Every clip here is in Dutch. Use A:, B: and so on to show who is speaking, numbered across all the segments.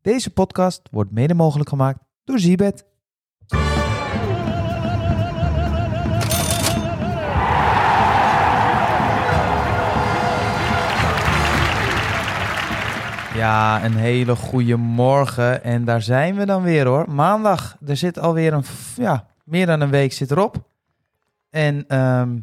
A: Deze podcast wordt mede mogelijk gemaakt door Zibet. Ja, een hele goede morgen. En daar zijn we dan weer hoor. Maandag, er zit alweer een, f- ja, meer dan een week zit erop. En ehm,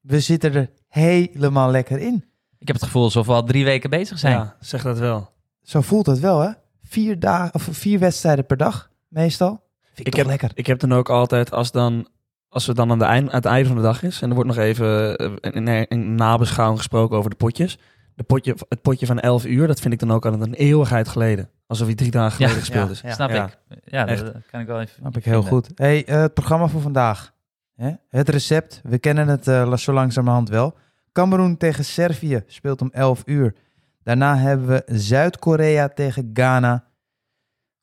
A: we zitten er helemaal lekker in.
B: Ik heb het gevoel alsof we al drie weken bezig zijn.
C: Ja, zeg dat wel.
A: Zo voelt het wel hè. Vier, dagen, of vier wedstrijden per dag, meestal. Vind ik,
C: Ik
A: toch
C: heb-
A: lekker.
C: Ik heb dan ook altijd, als, dan, als we dan aan, de eind, aan het einde van de dag is... en er wordt nog even eh, in, in, nabeschouwing gesproken over de potjes... De potje, het potje van 11 uur, dat vind ik dan ook altijd een eeuwigheid geleden. Alsof hij drie dagen
B: Ja,
C: geleden gespeeld
A: ja,
C: is.
A: ja.
B: Snap
C: Ja.
B: ik. Ja,
C: Echt.
B: dat kan ik wel even.
A: Snap ik heel goed. Hey, eh, het programma voor vandaag. Hè? Het recept. We kennen het eh, zo langzamerhand wel. Cameroen tegen Servië speelt om 11 uur. Daarna hebben we Zuid-Korea tegen Ghana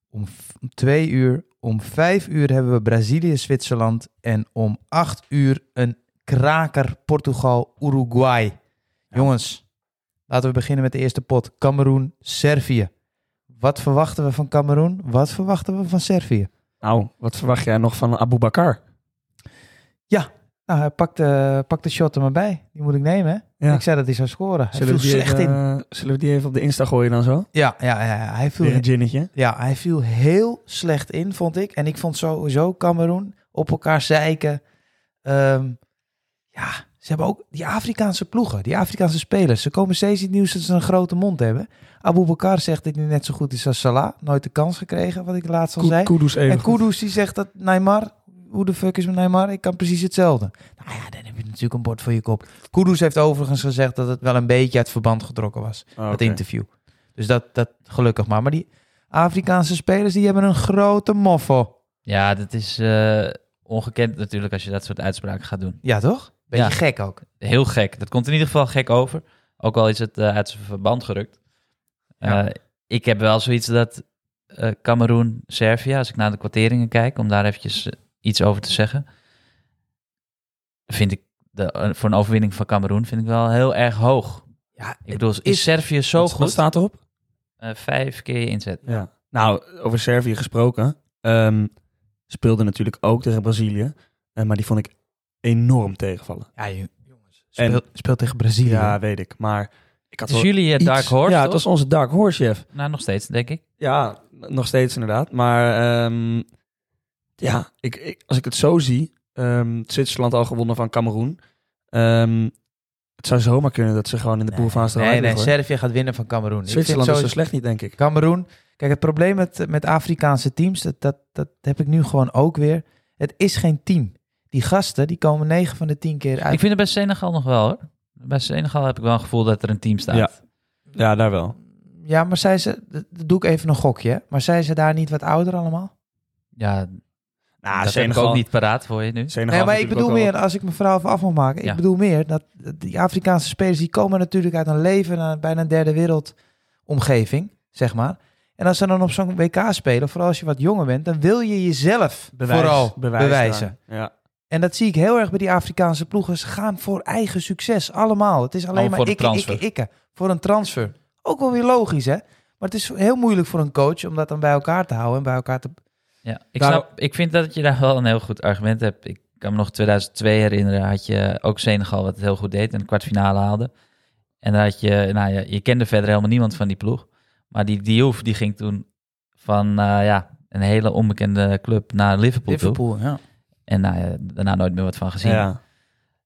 A: om v- om 2 uur. Om 5 uur hebben we Brazilië-Zwitserland. En om 8 uur een kraker Portugal-Uruguay. Jongens, laten we beginnen met de eerste pot. Cameroen-Servië. Wat verwachten we van Cameroen? Wat verwachten we van Servië?
C: Nou, wat verwacht jij nog van Abu Bakar?
A: Nou, hij pakt, eh, pakt de shot er maar bij. Die moet ik nemen, hè?
C: Ja.
A: Ik zei dat hij zou scoren. Hij viel
C: die
A: slecht
C: even,
A: in.
C: eh, zullen we die even op de Insta gooien dan zo?
A: Ja, ja, ja, ja. Hij,
C: Weer
A: viel,
C: een ginnetje.
A: ja, hij viel heel slecht in, vond ik. En ik vond sowieso Cameroen op elkaar zeiken. Ehm, ja, ze hebben ook die Afrikaanse ploegen, die Afrikaanse spelers. Ze komen steeds in het nieuws dat ze een grote mond hebben. Abu Bakar zegt dat hij net zo goed is als Salah. Nooit de kans gekregen, wat ik laatst al zei.
C: Ku- Kudus even.
A: En Kudus die zegt dat Neymar, hoe de fuck is met Neymar? Ik kan precies hetzelfde. Nou ja, dan heb je natuurlijk een bord voor je kop. Kudus heeft overigens gezegd dat het wel een beetje uit verband getrokken was,
C: Oh,
A: het
C: oké.
A: interview. Dus dat, dat gelukkig maar. Maar die Afrikaanse spelers, die hebben een grote moffo.
B: Ja, dat is eh, ongekend natuurlijk als je dat soort uitspraken gaat doen.
A: Ja, toch? Beetje
B: Ja.
A: gek ook.
B: Heel gek. Dat komt in ieder geval gek over. Ook al is het eh, uit zijn verband gerukt.
A: Ja.
B: Eh, ik heb wel zoiets dat eh Cameroen, Servië, als ik naar de kwarteringen kijk, om daar eventjes eh, iets over te zeggen, vind ik de, eh, voor een overwinning van Cameroen vind ik wel heel erg hoog.
A: Ja,
B: Ik bedoel, is, Servië zo
C: Wat- Wat
B: goed?
C: staat erop?
B: Eh, vijf keer je inzet.
C: Ja. Nou, over Servië gesproken. ehm, speelde natuurlijk ook tegen Brazilië. eh, maar die vond ik enorm tegenvallen.
A: jongens. Speelt speel tegen Brazilië.
C: Ja, weet ik. Maar ik had
B: Het is
C: wel
B: jullie eh,
C: iets-
B: Dark Horse,
C: Ja,
B: toch?
C: het was onze Dark Horse, chef.
B: Nou, nog steeds, denk ik.
C: Ja, n- nog steeds inderdaad. Maar ehm, ja, ik, ik, als ik het zo zie... ehm, Zwitserland al gewonnen van Cameroen. Ehm, het zou zomaar kunnen dat ze gewoon in de poolfase
A: Nee,
C: eruit
A: nee,
C: liggen, hoor.
A: Servië gaat winnen van Cameroen. Ik vind
C: Zwitserland is zo
A: sowieso-
C: slecht niet, denk ik.
A: Cameroen. Kijk, het probleem met, met Afrikaanse teams, dat, dat, dat heb ik nu gewoon ook weer. Het is geen team. Die gasten, die komen 9 van de 10 keer uit.
B: Ik vind het bij Senegal nog wel, hoor. Bij Senegal heb ik wel een gevoel dat er een team staat.
C: Ja. Ja, daar wel.
A: Ja, maar zijn ze, dat dat doe ik even een gokje, hè. maar zijn ze daar niet wat ouder allemaal?
B: Ja,
C: Nou,
B: dat heb ik ook niet paraat voor je nu.
C: Senegal
A: Nee,
C: is
A: maar ik
C: natuurlijk
A: bedoel
C: ook wel-
A: meer, als ik mijn verhaal even af mag maken,
B: Ja.
A: ik bedoel meer dat dat die Afrikaanse spelers, die komen natuurlijk uit een leven, eh, bijna een derde wereld omgeving, zeg maar. En als ze dan op zo'n WK spelen, vooral als je wat jonger bent, dan wil je jezelf vooral bewijzen.
C: daar. Ja.
A: En dat zie ik heel erg bij die Afrikaanse ploegen. Ze gaan voor eigen succes, allemaal. Het is alleen
B: Allemaal
A: maar
B: voor een
A: ikke, ikke,
B: transfer.
A: ikke. Voor een transfer. Ook wel weer logisch, hè? Maar het is heel moeilijk voor een coach om dat dan bij elkaar te houden en bij elkaar te...
B: Ja, ik,
C: Daarom-
B: snap, ik vind dat je daar wel een heel goed argument hebt. Ik kan me nog 2002 herinneren, had je ook Senegal wat het heel goed deed en de kwartfinale haalde. En daar had je, nou ja, je kende verder helemaal niemand van die ploeg. Maar die Diouf, die ging toen van, eh, ja, een hele onbekende club naar Liverpool, toe.
A: ja.
B: En nou ja, daarna nooit meer wat van gezien.
C: Ja.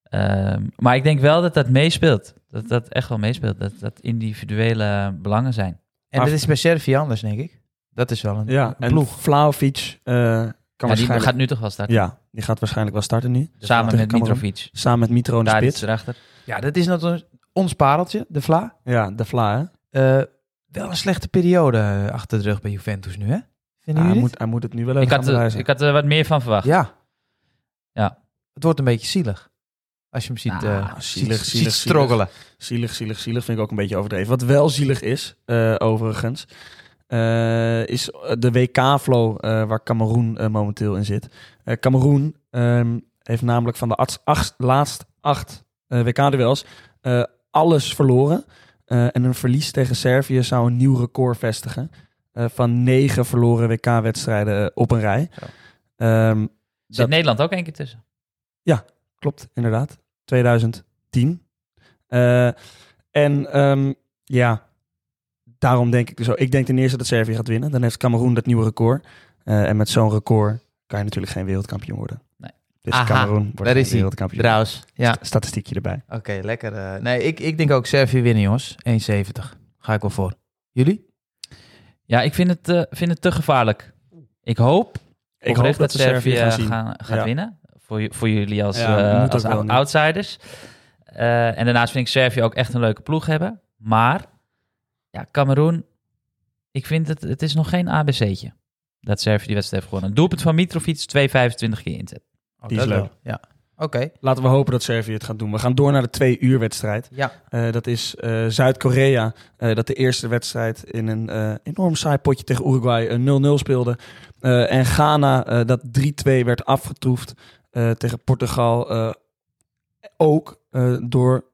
B: Ehm, maar ik denk wel dat dat meespeelt. Dat dat echt wel meespeelt. Dat dat individuele belangen zijn.
A: En dat is bij Servië anders, denk ik. Dat is wel een...
C: ja. En
A: ploeg.
C: Vlaovic eh, kan
B: Ja, die
C: waarschijnlijk...
B: gaat nu toch wel starten.
C: Ja, die gaat waarschijnlijk wel starten nu.
B: Samen
C: tegen
B: met
C: Cameroen.
B: Mitrovic.
C: Samen met Mitro in de
B: Daar
C: spits.
B: erachter.
A: Ja, dat is natuurlijk ons pareltje, de Vla.
C: Ja, de Vla, hè?
A: Eh, wel een slechte periode eh, achter de rug bij Juventus nu, hè? Vinden
C: hij,
A: jullie
C: moet, hij moet het nu wel even
B: Ik had,
C: gaan
B: er,
C: bewijzen.
B: ik had er wat meer van
A: dit?
B: verwacht.
A: Ja.
B: Ja.
A: Het wordt een beetje zielig. Als je hem ziet, eh
B: Ah,
A: ziet-
C: zielig,
A: ziet
C: zielig,
A: struggelen.
C: Zielig, zielig, zielig vind ik ook een beetje overdreven. Wat wel zielig is, eh, overigens, eh, is de WK-flow eh, waar Cameroen eh, momenteel in zit. Eh Cameroen ehm, heeft namelijk van de acht, acht- laatst acht eh, WK-duels eh, alles verloren. Eh, en een verlies tegen Servië zou een nieuw record vestigen. eh, van negen verloren WK-wedstrijden eh, op een rij.
B: Zo.
C: Ehm,
B: Zit
C: Dat-
B: Nederland ook één keer tussen?
C: klopt, inderdaad. 2010. Eh, en ehm, ja, daarom denk ik dus ook. Ik denk ten eerste dat Servië gaat winnen. Dan heeft Cameroen dat nieuwe record. Eh, en met zo'n record kan je natuurlijk geen wereldkampioen worden.
B: Nee.
C: Dus
A: Aha,
C: Cameroen
A: daar
C: wordt geen
A: is hij.
C: wereldkampioen.
A: Trouwens, ja.
C: Statistiekje erbij.
A: Oké, lekker. eh. nee, ik, ik denk ook Servië winnen, jongens. 1,70. Ga ik wel voor. Jullie?
B: Ja, ik vind het, eh, vind het te gevaarlijk. Ik hoop,
C: Ik hoop
B: oprecht
C: dat we Servië gaan zien.
B: gaan- gaat
C: Ja.
B: winnen. Voor, ju- voor jullie als,
C: Ja,
B: eh,
C: moet ook
B: als
C: wel
B: ou-
C: nu.
B: outsiders. Eh, en daarnaast vind ik Servië ook echt een leuke ploeg hebben. Maar, ja, Cameroen, ik vind het, het is nog geen ABC'tje. Dat Servië die wedstrijd heeft gewonnen. Doelpunt van Mitrovic, 2,25 keer inzet.
A: Oh,
C: Die is
A: dat wel.
C: leuk.
A: Ja. Oké.
C: Laten we hopen dat Servië het gaat doen. We gaan door naar de twee uur wedstrijd.
A: Ja.
C: Eh, dat is eh, Zuid-Korea. eh, dat de eerste wedstrijd in een eh, enorm saai potje tegen Uruguay eh, 0-0 speelde. Eh, en Ghana eh, dat 3-2 werd afgetroefd eh, tegen Portugal. eh, ook eh, door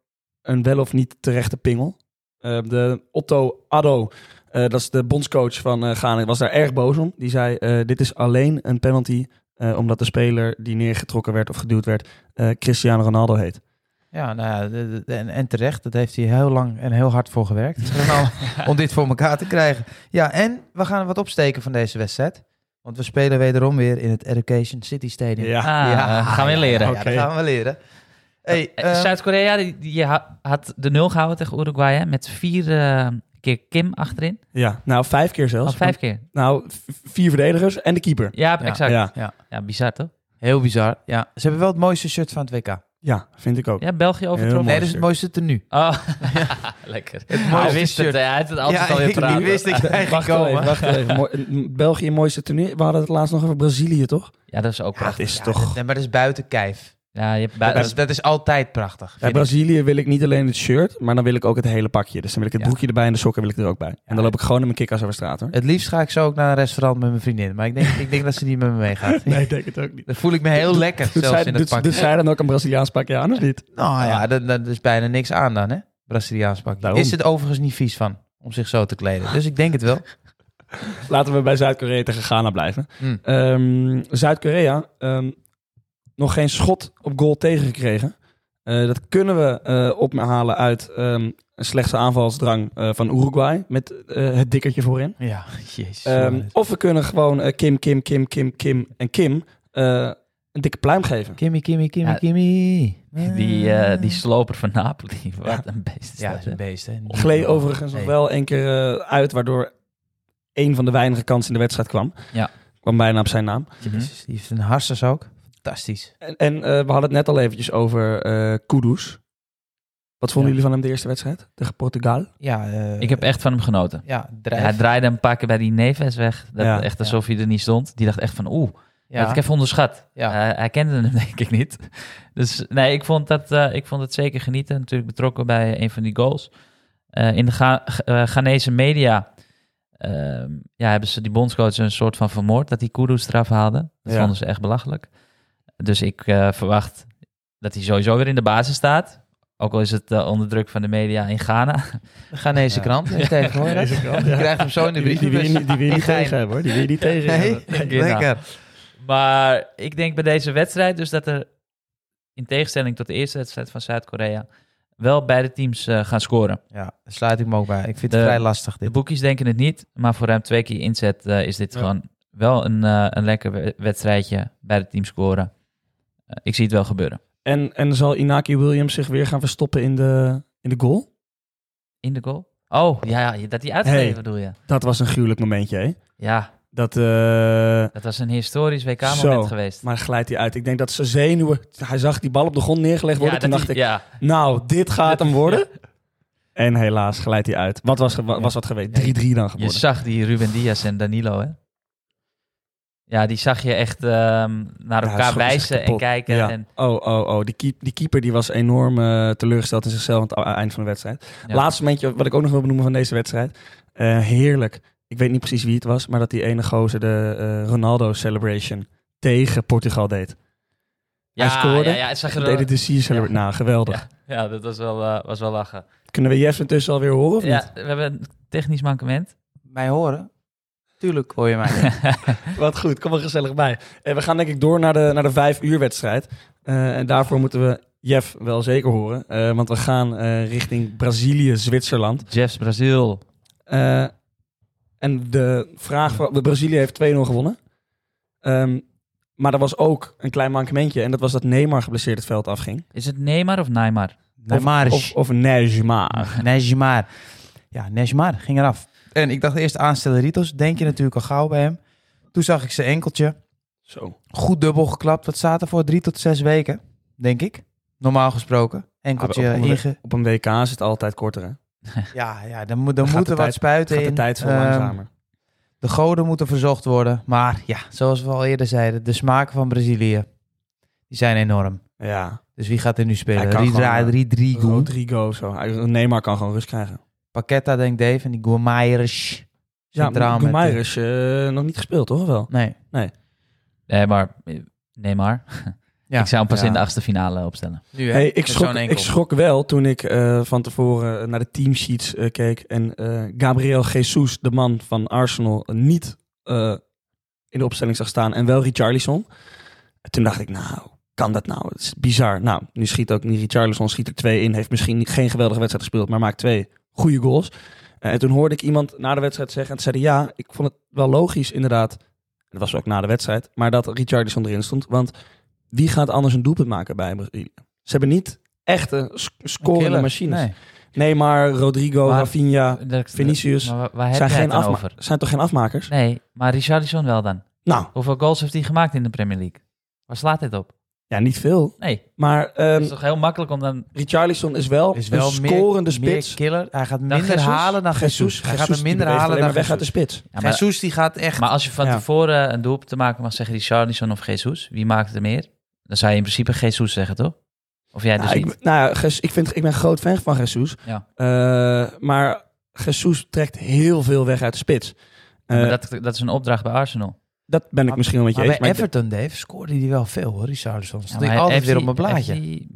C: een wel of niet terechte pingel. Eh, de Otto Addo, eh, dat is de bondscoach van eh, Ghana, was daar erg boos om. Die zei, eh, dit is alleen een penalty eh, omdat de speler die neergetrokken werd of geduwd werd, eh, Cristiano Ronaldo heet.
A: Ja, nou ja, de- de- de- en, en terecht. Dat heeft hij heel lang en heel hard voor gewerkt. Nou, om dit voor elkaar te krijgen. Ja, en we gaan wat opsteken van deze wedstrijd. Want we spelen wederom weer in het Education City Stadium.
B: Ah, eh, gaan we leren.
A: Ja, dat
C: Oké.
A: gaan we leren. Hey,
B: Eh,
A: eh,
B: Zuid-Korea, die, die ha- had de nul gehouden tegen Uruguay, hè, met vier eh, keer Kim achterin.
C: Ja, nou vijf keer zelfs.
B: Al Oh, vijf keer.
C: Nou, v- vier verdedigers en de keeper.
B: Ja,
A: Ja.
B: exact. Ja.
C: Ja.
B: bizar toch?
A: heel bizar. Ja, ze hebben wel het mooiste shirt van het WK.
C: ja, vind ik ook.
B: Ja, België
C: Heel
B: overtroffen.
A: Nee,
C: mooi
A: dat is het
C: shirt.
A: mooiste tenue.
B: Oh, lekker.
A: Het
B: Hij
A: mooiste
B: wist het,
A: shirt.
B: hè. hij heeft het altijd
A: ja,
B: al in
A: ik
B: praten.
A: wist dat jij ging
C: Wacht wel even,
A: komen.
C: wacht even. Mooi- m- België, mooiste toernooi. We hadden het laatst nog over Brazilië, toch?
B: Ja, dat is ook prachtig.
C: is
A: Ja, dat- nee, maar dat is buiten kijf.
B: Ja, je hebt
A: Dat,
B: bij-
A: is, dat is altijd prachtig.
C: Bij
A: vind ik.
C: Brazilië wil ik niet alleen het shirt, maar dan wil ik ook het hele pakje. Dus dan wil ik het
B: Ja.
C: broekje erbij en de sokken wil ik er ook bij. En dan loop ik gewoon in mijn kikkas over straat, hoor.
A: Het liefst ga ik zo ook naar een restaurant met mijn vriendin. Maar ik denk, ik denk dat ze niet met me meegaat.
C: ik denk het ook niet.
A: Dan voel ik me heel lekker
C: Doet
A: zelfs
C: zij,
A: in dat
C: doet-
A: pak.
C: doet zij dan ook een Braziliaans pakje aan, of niet?
A: nou
B: Ah.
A: ja, dat, dat is bijna niks aan dan, hè? Braziliaans pak.
C: Daarom.
A: Is het overigens niet vies van om zich zo te kleden. Dus ik denk het wel.
C: Laten we bij Zuid-Korea tegen Ghana blijven.
A: Hm.
C: Ehm, Zuid-Korea, ehm, nog geen schot op goal tegengekregen. Eh, dat kunnen we eh ophalen uit ehm, een slechte aanvalsdrang eh, van Uruguay. Met eh, het dikkertje voorin.
A: Ja, jezus.
C: Ehm, of we kunnen gewoon eh, Kim, Kim, Kim, Kim, Kim en Kim eh, een dikke pluim geven.
A: Kimmy, Kimmy, Kimmy,
B: Ja,
A: Kimmy.
B: die, eh, die sloper van Napoli. Wat een beest is
A: Ja, dat
B: dat,
A: is een
B: hè.
A: beest, hè? Niet
C: Gleed
A: normaal.
C: overigens nog
A: Nee.
C: wel één keer eh, uit, waardoor één van de weinige kansen in de wedstrijd kwam.
B: Ja.
C: Kwam bijna op zijn naam.
A: Jezus, Hm? die heeft een harsers ook. Fantastisch.
C: En, en eh, we hadden het net al eventjes over eh Kudus. Wat vonden
A: Ja.
C: jullie van hem de eerste wedstrijd? Tegen Portugal?
A: Ja, eh,
B: Ik heb echt van hem genoten.
A: Ja, drijf.
B: Hij draaide een paar keer bij die Neves weg. Dat
C: Ja.
B: echt alsof hij er niet stond. Die dacht echt van, oeh,
A: ja.
B: dat heb ik even onderschat.
A: Ja.
B: Eh, hij kende hem denk ik niet. Dus nee, ik vond dat, eh, ik vond het zeker genieten. Natuurlijk betrokken bij een van die goals. Eh, in de Ga G- eh, Ghanese media ehm, ja, hebben ze die bondscoach een soort van vermoord. Dat die Kudus eraf haalde. Dat
C: Ja.
B: vonden ze echt belachelijk. Dus ik eh, verwacht dat hij sowieso weer in de basis staat. Ook al is het eh, onder druk van de media in Ghana.
A: We gaan deze
C: Ja.
A: krant eens tegenwoordig.
C: Deze krant,
A: Je
C: ja.
A: krijgt hem zo in de brief.
C: die, wil je niet, die wil je
A: In
C: niet
A: Gein.
C: tegen hebben hoor. Die wil je niet tegen hebben.
A: lekker.
B: Maar ik denk bij deze wedstrijd dus dat er, in tegenstelling tot de eerste wedstrijd van Zuid-Korea, wel beide teams eh, gaan scoren.
A: Ja, daar sluit ik me ook bij. Ik vind het
B: De-
A: vrij lastig
B: De
A: dit.
B: boekies denken het niet, maar voor ruim twee keer inzet eh, is dit
C: Ja.
B: gewoon wel een, eh, een lekker we- wedstrijdje. Beide teams scoren. Eh, ik zie het wel gebeuren.
C: En, en zal Inaki Williams zich weer gaan verstoppen in de, in de goal?
B: In de goal? Oh, ja, ja, dat die uitgegeven
C: Hey.
B: bedoel je.
C: Dat was een gruwelijk momentje, hè?
B: Ja,
C: Dat, eh,
B: dat was een historisch
C: Zo.
B: WK-moment geweest.
C: maar glijdt hij uit. Ik denk dat zijn zenuwen... Hij zag die bal op de grond neergelegd worden.
B: ja,
C: toen
B: dat
C: dacht
B: die-
C: ik,
B: ja,
C: nou, dit gaat hem worden. En helaas glijdt hij uit. Wat was, wa- was dat geweest? 3-3 dan
B: je
C: geworden.
B: zag die Ruben Diaz en Danilo, hè? Ja, die zag je echt ehm, naar elkaar
C: Ja, schrokken zich
B: wijzen en
C: kapot.
B: kijken.
C: Ja.
B: En,
C: Oh, oh, oh. Die, keep- die keeper die was enorm eh, teleurgesteld in zichzelf aan het a- eind van de wedstrijd.
B: Ja.
C: Laatste momentje wat ik ook nog wil benoemen van deze wedstrijd. Eh, heerlijk. Ik weet niet precies wie het was, maar dat die ene gozer de eh, Ronaldo celebration tegen Portugal deed.
B: ja,
C: scoorde.
B: Ja, ja, zag je
C: Dat
B: er-
C: deed de Sea celebration. Nou, geweldig.
B: ja, dat was wel, eh, was wel lachen.
C: Kunnen we Jeff intussen alweer horen of niet?
B: Ja, we hebben een technisch mankement.
A: Mij horen? Tuurlijk hoor je mij. niet.
C: Wat goed, kom er gezellig bij. En Eh, we gaan denk ik door naar de, naar de vijf uur wedstrijd. Eh, en daarvoor moeten we Jeff wel zeker horen. eh, want we gaan eh, richting Brazilië, Zwitserland.
B: Jeffs Brazil.
C: Eh, en de vraag voor... de Brazilië heeft 2-0 gewonnen. Ehm, maar er was ook een klein mankementje. En dat was dat Neymar geblesseerd het veld afging.
B: Is het Neymar of Neymar?
A: Neymar. is-
C: Of, of Neymar.
A: Ah, Neymar. Ja, Neymar ging eraf. En ik dacht eerst aan Stellaritos. Denk je natuurlijk al gauw bij hem. Toen zag ik zijn enkeltje.
C: Zo.
A: Goed dubbel geklapt. Wat zaten voor drie tot zes weken, denk ik. Normaal gesproken. Enkeltje
C: Ah, op- op-
A: inge...
C: Op een WK is het altijd korter. Hè?
A: Ja, ja dan, moet, dan
C: gaat
A: moeten
C: de
A: wat
C: tijd-
A: spuiten
C: Gaat de
A: in.
C: tijd veel
A: Ehm,
C: langzamer.
A: De goden moeten verzocht worden. Maar ja, zoals we al eerder zeiden, de smaken van Brazilië die zijn enorm.
C: Ja.
A: Dus wie gaat er nu spelen?
C: Hij kan
A: Ridra-
C: gewoon, eh,
A: Rodrigo.
C: Rodrigo zo. Hij- Neymar kan gewoon rust krijgen.
A: Paqueta, denkt Dave. En die Guamaiers. Centraal met-
C: Meijer is eh, nog niet gespeeld, toch? Of Wel.
A: Nee.
B: Nee, maar... eh, Neymar.
A: Ja.
B: ik zou hem pas
C: Ja.
B: in de achtste finale opstellen.
A: Nu, hè,
C: Hey, ik,
A: met
C: schrok,
A: zo'n
C: ik
A: enkel.
C: schrok wel toen ik eh, van tevoren naar de teamsheets eh, keek en eh, Gabriel Jesus, de man van Arsenal, niet eh, in de opstelling zag staan en wel Richarlison. Toen dacht ik, nou, kan dat nou? Het is bizar. Nou, nu schiet ook niet Richarlison, schiet er twee in. Heeft misschien niet- geen geweldige wedstrijd gespeeld, maar maakt twee goede goals. Eh, en toen hoorde ik iemand na de wedstrijd zeggen, en toen zei hij, ja, ik vond het wel logisch inderdaad. Dat was ook na de wedstrijd, maar dat Richarlison erin stond. Want wie gaat anders een doelpunt maken bij Brazilië? Ze hebben niet echte sc- scorende
A: Killer.
C: machines. Nee.
A: Nee.
C: maar Rodrigo,
B: Maar-
C: Rafinha,
B: Dat-
C: Ah, Vinicius
B: Maar wa- waar heb
C: zijn,
B: jij het
C: geen
B: dan
C: afma-
B: over?
C: zijn toch geen afmakers?
B: Nee, maar Richarlison wel dan.
C: Nou,
B: Hoeveel goals heeft hij gemaakt in de Premier League? Waar slaat dit op?
C: ja, niet veel.
B: Nee,
C: Maar
B: het
C: ehm
B: is toch heel makkelijk om dan...
C: Richarlison is wel,
A: Is wel
C: een scorende
A: meer, meer
C: spits.
A: killer. Hij gaat minder
B: Jesus?
A: halen dan Jesus. Hij gaat hem
C: die
A: minder
C: beweegt
A: halen
C: alleen
A: dan
C: maar weg uit de
A: Jesus.
C: spits.
B: Ja, maar,
A: Jesus die gaat echt...
B: maar als je van
C: Ja.
B: tevoren een doelpunt te maken mag zeggen Richarlison of Jesus, wie maakt er meer? Dan zou je in principe Jesus zeggen, toch? Of jij dus
C: nou,
B: niet?
C: ik, nou, ja, Ges- ik, vind, ik ben groot fan van Jesus.
B: Ja.
C: Eh, maar Jesus trekt heel veel weg uit de spits. Eh,
B: Maar
C: dat,
B: dat, dat is een opdracht bij Arsenal.
C: ben ik misschien wel met je
A: maar
C: eens.
A: bij
C: Maar ik-
A: Everton, Dave, scoorde hij wel veel, hoor, Richarlison. Stond
B: Ja,
A: hij
B: maar
A: altijd
B: heeft
A: weer op
B: hij-
A: mijn blaadje.
B: heeft hij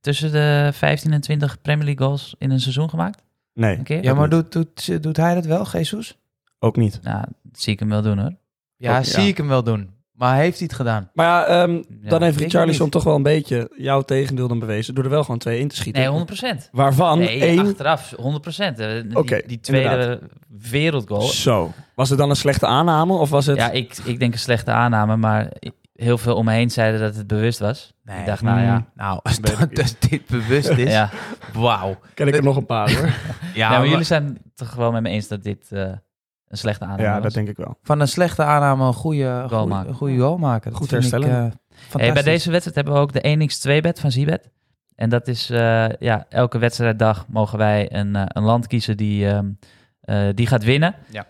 B: Tussen de 15 en 20 Premier League goals in een seizoen gemaakt?
C: nee,
B: Een keer?
A: Ja, maar doet, doet, doet hij dat wel, Jesus?
C: ook niet.
B: Nou, dat zie ik hem wel doen hoor.
A: Ja,
C: Ook-
A: zie
C: ja.
A: ik hem wel doen. Maar heeft hij het gedaan?
C: Maar ja, ehm,
B: Ja.
C: dan heeft
A: Ik
C: Richarlison
A: niet.
C: toch wel een beetje jouw tegendeel dan bewezen. Door er wel gewoon twee in te schieten.
B: Nee, 100 procent.
C: Waarvan
B: Nee,
C: één...
B: achteraf, 100 procent. Eh,
C: Oké,
B: die, die tweede wereldgoal.
C: Zo. Was het dan een slechte aanname of was het...
B: Oh. Ja, ik, ik denk een slechte aanname, maar ik- heel veel om me heen zeiden dat het bewust was.
A: Nee.
B: Ik dacht, nou ja.
A: Nou, als,
C: Weet ik
A: dat,
C: niet.
A: als dit bewust is,
B: ja.
A: wauw. Nou,
C: Ken ik er nog een paar hoor.
A: Ja,
B: nee, maar
A: maar
B: jullie zijn toch wel met me eens dat dit eh, een slechte aanname
C: ja, dat
B: was?
C: denk ik wel.
A: Van een slechte aanname een goede
B: Goal
A: goede-
B: maken.
A: een goede goal maken. Dat
C: Goed
A: vind ik,
C: herstellen.
A: eh,
B: Hey, bij
A: fantastisch.
B: deze wedstrijd hebben we ook de 1x2-bet van Zibet. En dat is, eh, ja, elke wedstrijddag mogen wij een, eh, een land kiezen die, ehm, eh, die gaat winnen.
A: Ja.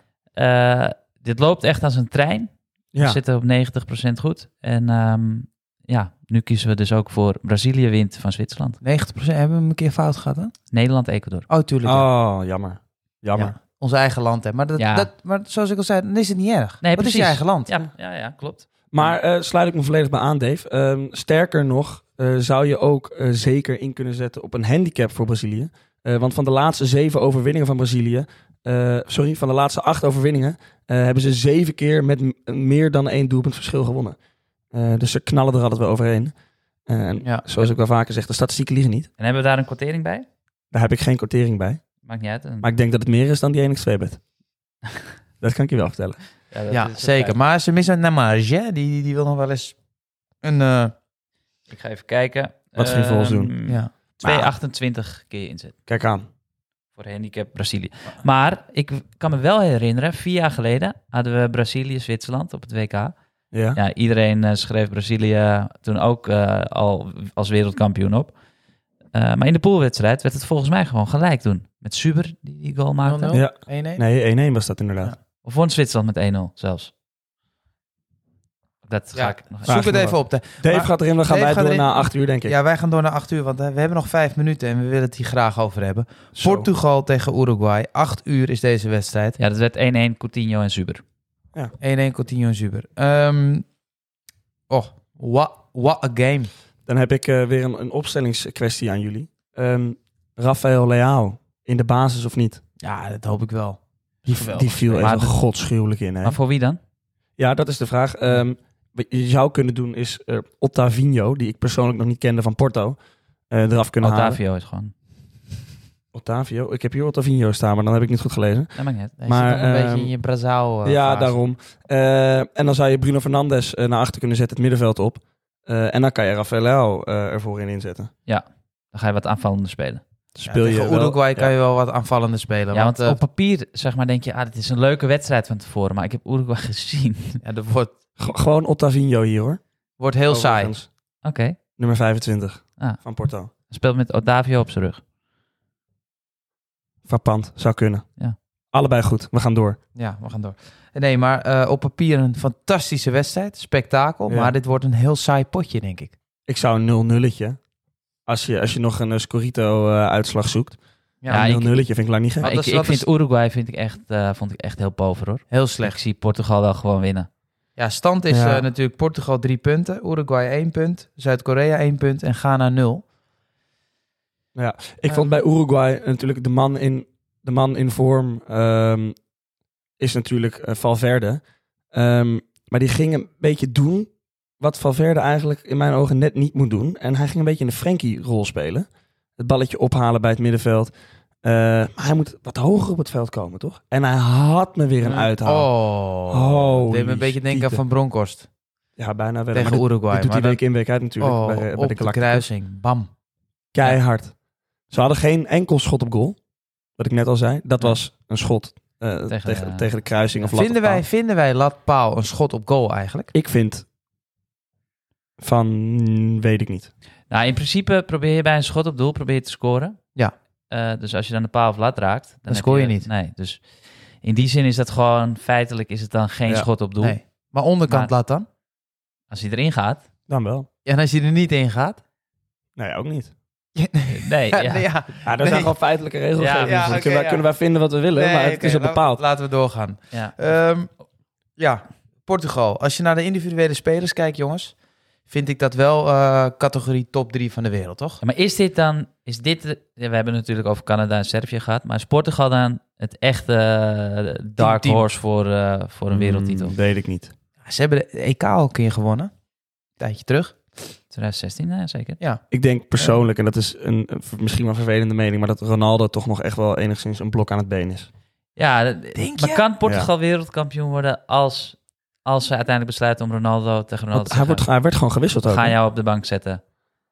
B: Eh, dit loopt echt als een trein.
C: Ja.
B: We zitten op 90% goed. En ehm, ja, nu kiezen we dus ook voor Brazilië wint van Zwitserland.
A: 90% hebben we hem een keer fout gehad, hè?
B: Nederland-Ecuador.
A: Oh, tuurlijk. ja.
C: Oh, jammer. Jammer.
A: Ja, ons eigen land, hè. Maar, dat,
B: Ja.
A: dat, maar zoals ik al zei, dan is het niet erg.
B: Nee,
A: Wat is
B: precies.
A: je eigen land?
B: Ja, ja, ja klopt.
C: Maar eh, sluit ik me volledig bij aan, Dave. Ehm, sterker nog, eh, zou je ook eh, zeker in kunnen zetten op een handicap voor Brazilië. Eh, want van de laatste zeven overwinningen van Brazilië, eh, sorry, van de laatste acht overwinningen, eh, hebben ze zeven keer met m- meer dan één doelpunt verschil gewonnen. Eh, dus ze knallen er altijd wel overheen. Eh, En
A: Ja.
C: zoals ik wel vaker zeg, de statistieken liegen niet.
B: En hebben we daar een kwartering bij?
C: Daar heb ik geen quotering bij.
B: Maakt niet uit. Een-
C: Maar ik denk dat het meer is dan die 1 x 2 bet. dat kan ik je wel vertellen.
B: dat
A: Ja,
B: is het
A: zeker. Maar ze missen Namage, hè? Die, die, die wil nog wel eens een... eh,
B: Ik ga even kijken.
C: Wat ging voor ons
B: Ehm,
A: ja.
B: 2,28 keer inzet
C: Kijk aan.
B: voor handicap Brazilië. Maar ik kan me wel herinneren, vier jaar geleden hadden we Brazilië-Zwitserland op het WK.
C: Ja.
B: Ja, iedereen eh, schreef Brazilië toen ook eh, al als wereldkampioen op. Eh, maar in de poolwedstrijd werd het volgens mij gewoon gelijk toen. Met Suber, die die
C: Oh,
B: goal maakte.
A: 0-0?
C: Ja.
A: 1-1?
C: Nee, 1-1 was dat inderdaad.
B: Of won Zwitserland met 1-0 zelfs. Dat ga
A: Ja.
B: ik nog even.
A: Zoek het
C: maar
A: even op. De,
C: Dave
A: Maar-
C: gaat erin, dan gaan
A: Dave
C: wij
A: gaat
C: door
A: erin.
C: na 8 uur, denk ik.
A: ja, wij gaan door naar 8 uur, want eh, we hebben nog 5 minuten en we willen het hier graag over hebben.
C: Zo.
A: Portugal tegen Uruguay. 8 uur is deze wedstrijd. 1-1
B: Ja, dat werd 1-1 Coutinho en Suber.
A: Coutinho en Zuber. Ehm, oh, what, what a game.
C: Dan heb ik eh, weer een, een opstellingskwestie aan jullie. Ehm Rafael Leao, in de basis of niet?
A: Ja, dat hoop ik wel.
C: Die,
B: Geweldig.
C: die viel
B: Maar
C: echt
B: de-
C: godschuwelijk in. Hè?
B: Maar voor wie dan?
C: Ja, dat is de vraag. Ehm, wat je zou kunnen doen is eh, Ottavino, die ik persoonlijk nog niet kende van Porto, eh, eraf kunnen halen.
B: Altavio is gewoon.
C: Ottavio? Ik heb hier Ottavino staan, maar dan heb ik niet goed gelezen.
B: Dat maakt niet uit.
C: zit Maar, nog een ehm, beetje in
A: je Brazaal.
C: ja, daarom. Eh, en dan zou je Bruno Fernandes eh, naar achter kunnen zetten, het middenveld op. Eh, en dan kan je Rafael Leao, eh, ervoor in inzetten.
B: Dan ga je wat aanvallender spelen.
C: Speel je
A: tegen
C: wel-
A: Uruguay kan
C: ja.
A: je wel wat aanvallende spelen.
B: ja,
A: want
B: want
A: eh,
B: op papier zeg maar denk je, ah, dit is een leuke wedstrijd van tevoren. Maar ik heb Uruguay gezien. Oké.
A: eh, ja, dat wordt,
C: G- gewoon Ottavino hier hoor.
A: wordt
B: Oh,
A: heel saai.
C: Overigens. Nummer 25
B: Ah.
C: van Porto.
B: Speelt met Otavio op zijn rug.
C: Frappant, zou kunnen.
B: Ja.
C: Allebei goed, we gaan door.
A: Ja, we gaan door. Nee, maar eh, op papier een fantastische wedstrijd. Spektakel.
C: Ja.
A: Maar dit wordt een heel saai potje, denk ik.
C: Ik zou een 0-0'tje. Als je, als je nog een eh, Scorito-uitslag zoekt.
A: Ja,
B: Ja,
C: Ja,
B: ik-
C: een 0 vind ik lang niet gek.
B: Maar ik,
A: is-
B: ik
A: wat
B: vind
A: is-
B: Uruguay vind ik echt, eh, vond ik echt heel pover hoor.
A: Heel
B: Ik
A: slecht.
B: zie Portugal wel gewoon winnen.
A: Ja, stand is
C: Ja.
A: eh, natuurlijk Portugal drie punten. Uruguay één punt. Zuid-Korea één punt. En Ghana nul.
C: Ik vond
A: Ehm.
C: bij Uruguay natuurlijk de man in, de man in vorm ehm, is natuurlijk eh, Valverde. Ehm, maar die ging een beetje doen wat Valverde eigenlijk in mijn ogen net niet moet doen. En hij ging een beetje in de Frenkie-rol spelen. Het balletje ophalen bij het middenveld. Eh, maar hij moet wat hoger op het veld komen, toch? En hij had me weer een uithaal.
A: Oh.
C: Nou. Holy
A: Deed me een beetje denken
C: stieten.
A: van Bronkhorst
C: Ja, bijna wel.
A: tegen
C: Maar dit-
A: Uruguay.
C: dit doet hij
A: maar
C: week in, week uit
A: dat-
C: natuurlijk.
A: oh,
C: bij, eh, bij
A: op
C: de
A: de,
C: Galacticos.
A: kruising. Bam.
C: Keihard. Ze hadden geen enkel schot op goal. Wat ik net al zei. Dat was een schot eh, tegen, tegen,
B: eh,
C: de kruising of lat
A: Vinden
C: of paal.
A: wij, vinden wij lat paal een schot op goal eigenlijk?
C: Ik vind van mm, weet ik niet.
B: Nou, in principe probeer je bij een schot op doel probeer je te scoren.
A: Ja.
B: Eh, dus als je dan de paal of lat raakt, dan, heb
A: scoor je niet.
B: Nee, dus in die zin is dat gewoon feitelijk is het dan geen
A: Ja.
B: schot op doel.
A: Nee. Maar onderkant
C: Nou.
A: lat
B: Maar-
A: dan?
B: Als hij erin gaat,
C: Dan wel.
A: Ja, en als je er niet in gaat?
C: Nee, ook niet.
B: nee,
A: nee,
B: ja.
A: ja.
C: Ja, dat
A: Nee.
C: zijn gewoon feitelijke regels.
B: Ja,
C: Ja,
A: ja, oké,
C: kunnen, wij,
A: ja.
C: kunnen wij vinden wat we willen,
A: Nee,
C: maar het
A: oké,
C: is al
A: laten-
C: bepaald.
A: Laten we doorgaan.
B: ja.
A: Ehm, ja, Portugal. Als je naar de individuele spelers kijkt, jongens, vind ik dat wel eh, categorie top 3 van de wereld, toch?
B: Ja, Maar is dit dan, is dit, de- ja, we hebben het natuurlijk over Canada en Servië gehad, maar is Portugal dan het echte eh, dark
A: Team.
B: horse voor, eh, voor een wereldtitel?
C: Mm, weet ik niet.
A: Ze hebben de EK al een keer gewonnen. Een tijdje terug.
B: 2016, ja, zeker.
C: Ik denk persoonlijk, en dat is een, een v- misschien wel een vervelende mening, maar dat Ronaldo toch nog echt wel enigszins een blok aan het been is.
B: Ja, dat-
A: Denk
B: maar
A: je?
B: kan Portugal wereldkampioen worden als, als ze uiteindelijk besluiten om Ronaldo tegen Ronaldo
C: Want
B: te
C: hij, wordt,
B: zeggen,
C: hij werd gewoon gewisseld
B: we
C: ook.
B: gaan
C: hè?
B: jou op de bank zetten.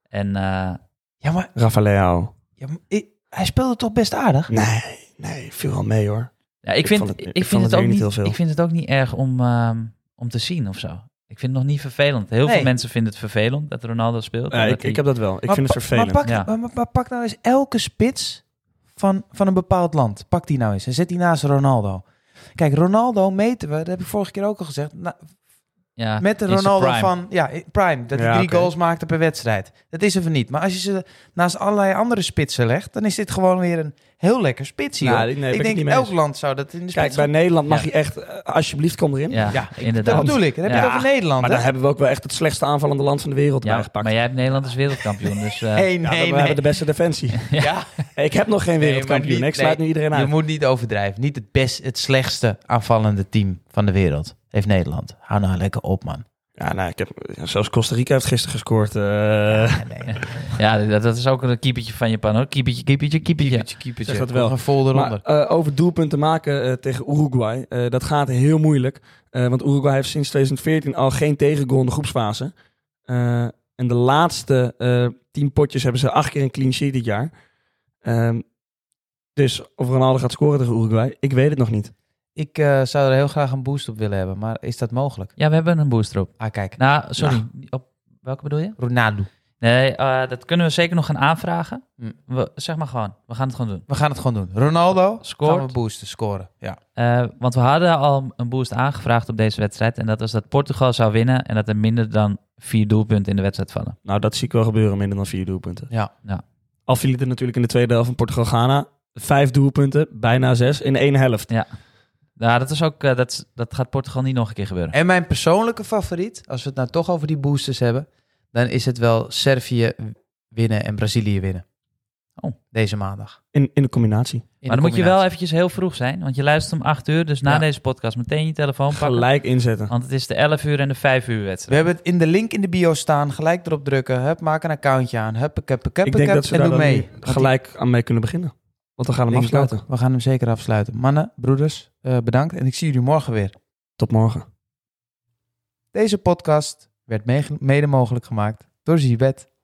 B: En eh,
A: Ja, maar,
C: Rafael.
A: ja, maar ik- hij speelde toch best aardig?
C: Nee, nee, viel wel mee hoor.
B: ja, ik,
C: Ik
B: vind,
C: vond het-
B: ik,
C: ik
B: vind
C: vond
B: het
C: het
B: ook
C: weer
B: niet,
C: niet heel veel.
B: ik vind het ook niet erg om, ehm, om te zien of zo. Ik vind het nog niet vervelend. Heel
A: Nee.
B: veel mensen vinden het vervelend dat Ronaldo speelt.
C: Ja,
B: en dat
C: ik,
B: hij-
C: ik heb dat wel. Ik
A: Maar
C: vind
A: pa-
C: het vervelend.
A: Maar pak,
B: Ja.
A: maar, maar- maar pak nou eens elke spits van, van een bepaald land. Pak die nou eens en zet die naast Ronaldo. Kijk, Ronaldo meten we, dat heb ik vorige keer ook al gezegd, na-
B: ja,
A: Met de
B: in zijn
A: Ronaldo
B: Ah, prime.
A: van ja, Prime. Dat hij
C: Ja,
A: drie
C: oké.
A: goals maakte per wedstrijd. Dat is er van niet. Maar als je ze naast allerlei andere spitsen legt, dan is dit gewoon weer een heel lekker spitsie.
C: Nou,
A: hoor.
C: nee, ben
A: ik
C: ik
A: denk
C: niet mee
A: elk
C: eens.
A: land zou dat in de
C: Kijk,
A: spits
C: bij
A: gaan-
C: Nederland mag
B: Ja.
C: je echt, eh, alsjeblieft kom erin.
B: Ja,
A: Ja, ik- Dat
B: inderdaad.
A: bedoel ik. Dan heb je
B: Ja.
A: het over Nederland.
C: Maar
A: hè?
C: daar hebben we ook wel echt het slechtste aanvallende land van de wereld bij
B: Ja,
C: gepakt.
B: maar jij hebt Nederland als wereldkampioen, dus eh,
A: Nee,
C: Ja,
A: nee,
C: we
A: nee.
C: hebben de beste nou. defensie.
A: ja.
C: ik heb nog geen
A: Nee,
C: wereldkampioen.
A: maar niet-
C: ik sluit
A: nee.
C: nu iedereen
A: Je
C: uit.
A: moet niet overdrijven. Niet het, best, het slechtste aanvallende team van de wereld heeft Nederland. Hou nou lekker op, man.
C: Ja, nou, ik heb, ja, zelfs Costa Rica heeft gisteren gescoord. eh.
A: Ja, nee.
B: ja, dat, dat is ook een keepertje van Japan hoor. Keepertje, keepertje, keepertje.
C: Zeg dat wel.
A: Nog Een vol eronder.
C: maar eh, over doelpunten maken eh, tegen Uruguay, eh, dat gaat heel moeilijk. Eh, want Uruguay heeft sinds 2014 al geen tegengoal in de groepsfase. Eh, en de laatste eh, tien potjes hebben ze acht keer een clean sheet dit jaar. Ehm, dus of Ronaldo gaat scoren tegen Uruguay, ik weet het nog niet.
A: ik eh, zou er heel graag een boost op willen hebben, maar is dat mogelijk?
B: Ja, we hebben een booster op.
A: Ah, kijk.
B: Nou, sorry. Op welke bedoel je?
A: Ronaldo.
B: Nee, eh, dat kunnen we zeker nog gaan aanvragen.
A: Hm.
B: We, zeg maar gewoon, we gaan het gewoon doen.
A: We gaan het gewoon doen. Ronaldo,
B: Scoort.
A: gaan we boosten, scoren. Ja.
B: Eh, want we hadden al een boost aangevraagd op deze wedstrijd. En dat was dat Portugal zou winnen en dat er minder dan vier doelpunten in de wedstrijd vallen.
C: Nou, dat zie ik wel gebeuren, minder dan vier doelpunten.
A: Ja.
B: Ja.
C: Al viel het er natuurlijk in de tweede helft van Portugal-Ghana. Vijf doelpunten, bijna zes, in één helft.
B: Nou, dat, is ook, eh, dat, is- dat gaat Portugal niet nog een keer gebeuren.
A: En mijn persoonlijke favoriet, als we het nou toch over die boosters hebben, dan is het wel Servië winnen en Brazilië winnen.
B: Oh.
A: Deze maandag.
C: In, in de combinatie.
A: In
B: maar
A: de
B: dan moet je wel
A: combinatie.
B: eventjes heel vroeg zijn, want je luistert om 8 uur. Dus na
C: Ja.
B: deze podcast meteen je telefoon pakken.
C: Gelijk inzetten.
B: Want het is de 11 uur en de 5 uur
A: We
B: wedstrijd.
A: hebben het in de link in de bio staan. Gelijk erop drukken. Hup, maak een accountje aan. Hup, ik heb, ik heb,
C: Ik denk dat ze
A: en
C: daar
A: doe
C: dan
A: mee.
C: nu
A: Want die-
C: gelijk aan mee kunnen beginnen. Want we gaan hem
A: Denk ik
C: afsluiten.
A: ook. We gaan hem zeker afsluiten. Mannen, broeders, eh, bedankt. En ik zie jullie morgen weer.
C: Tot morgen.
A: Deze podcast werd mege- mede mogelijk gemaakt door Zibet.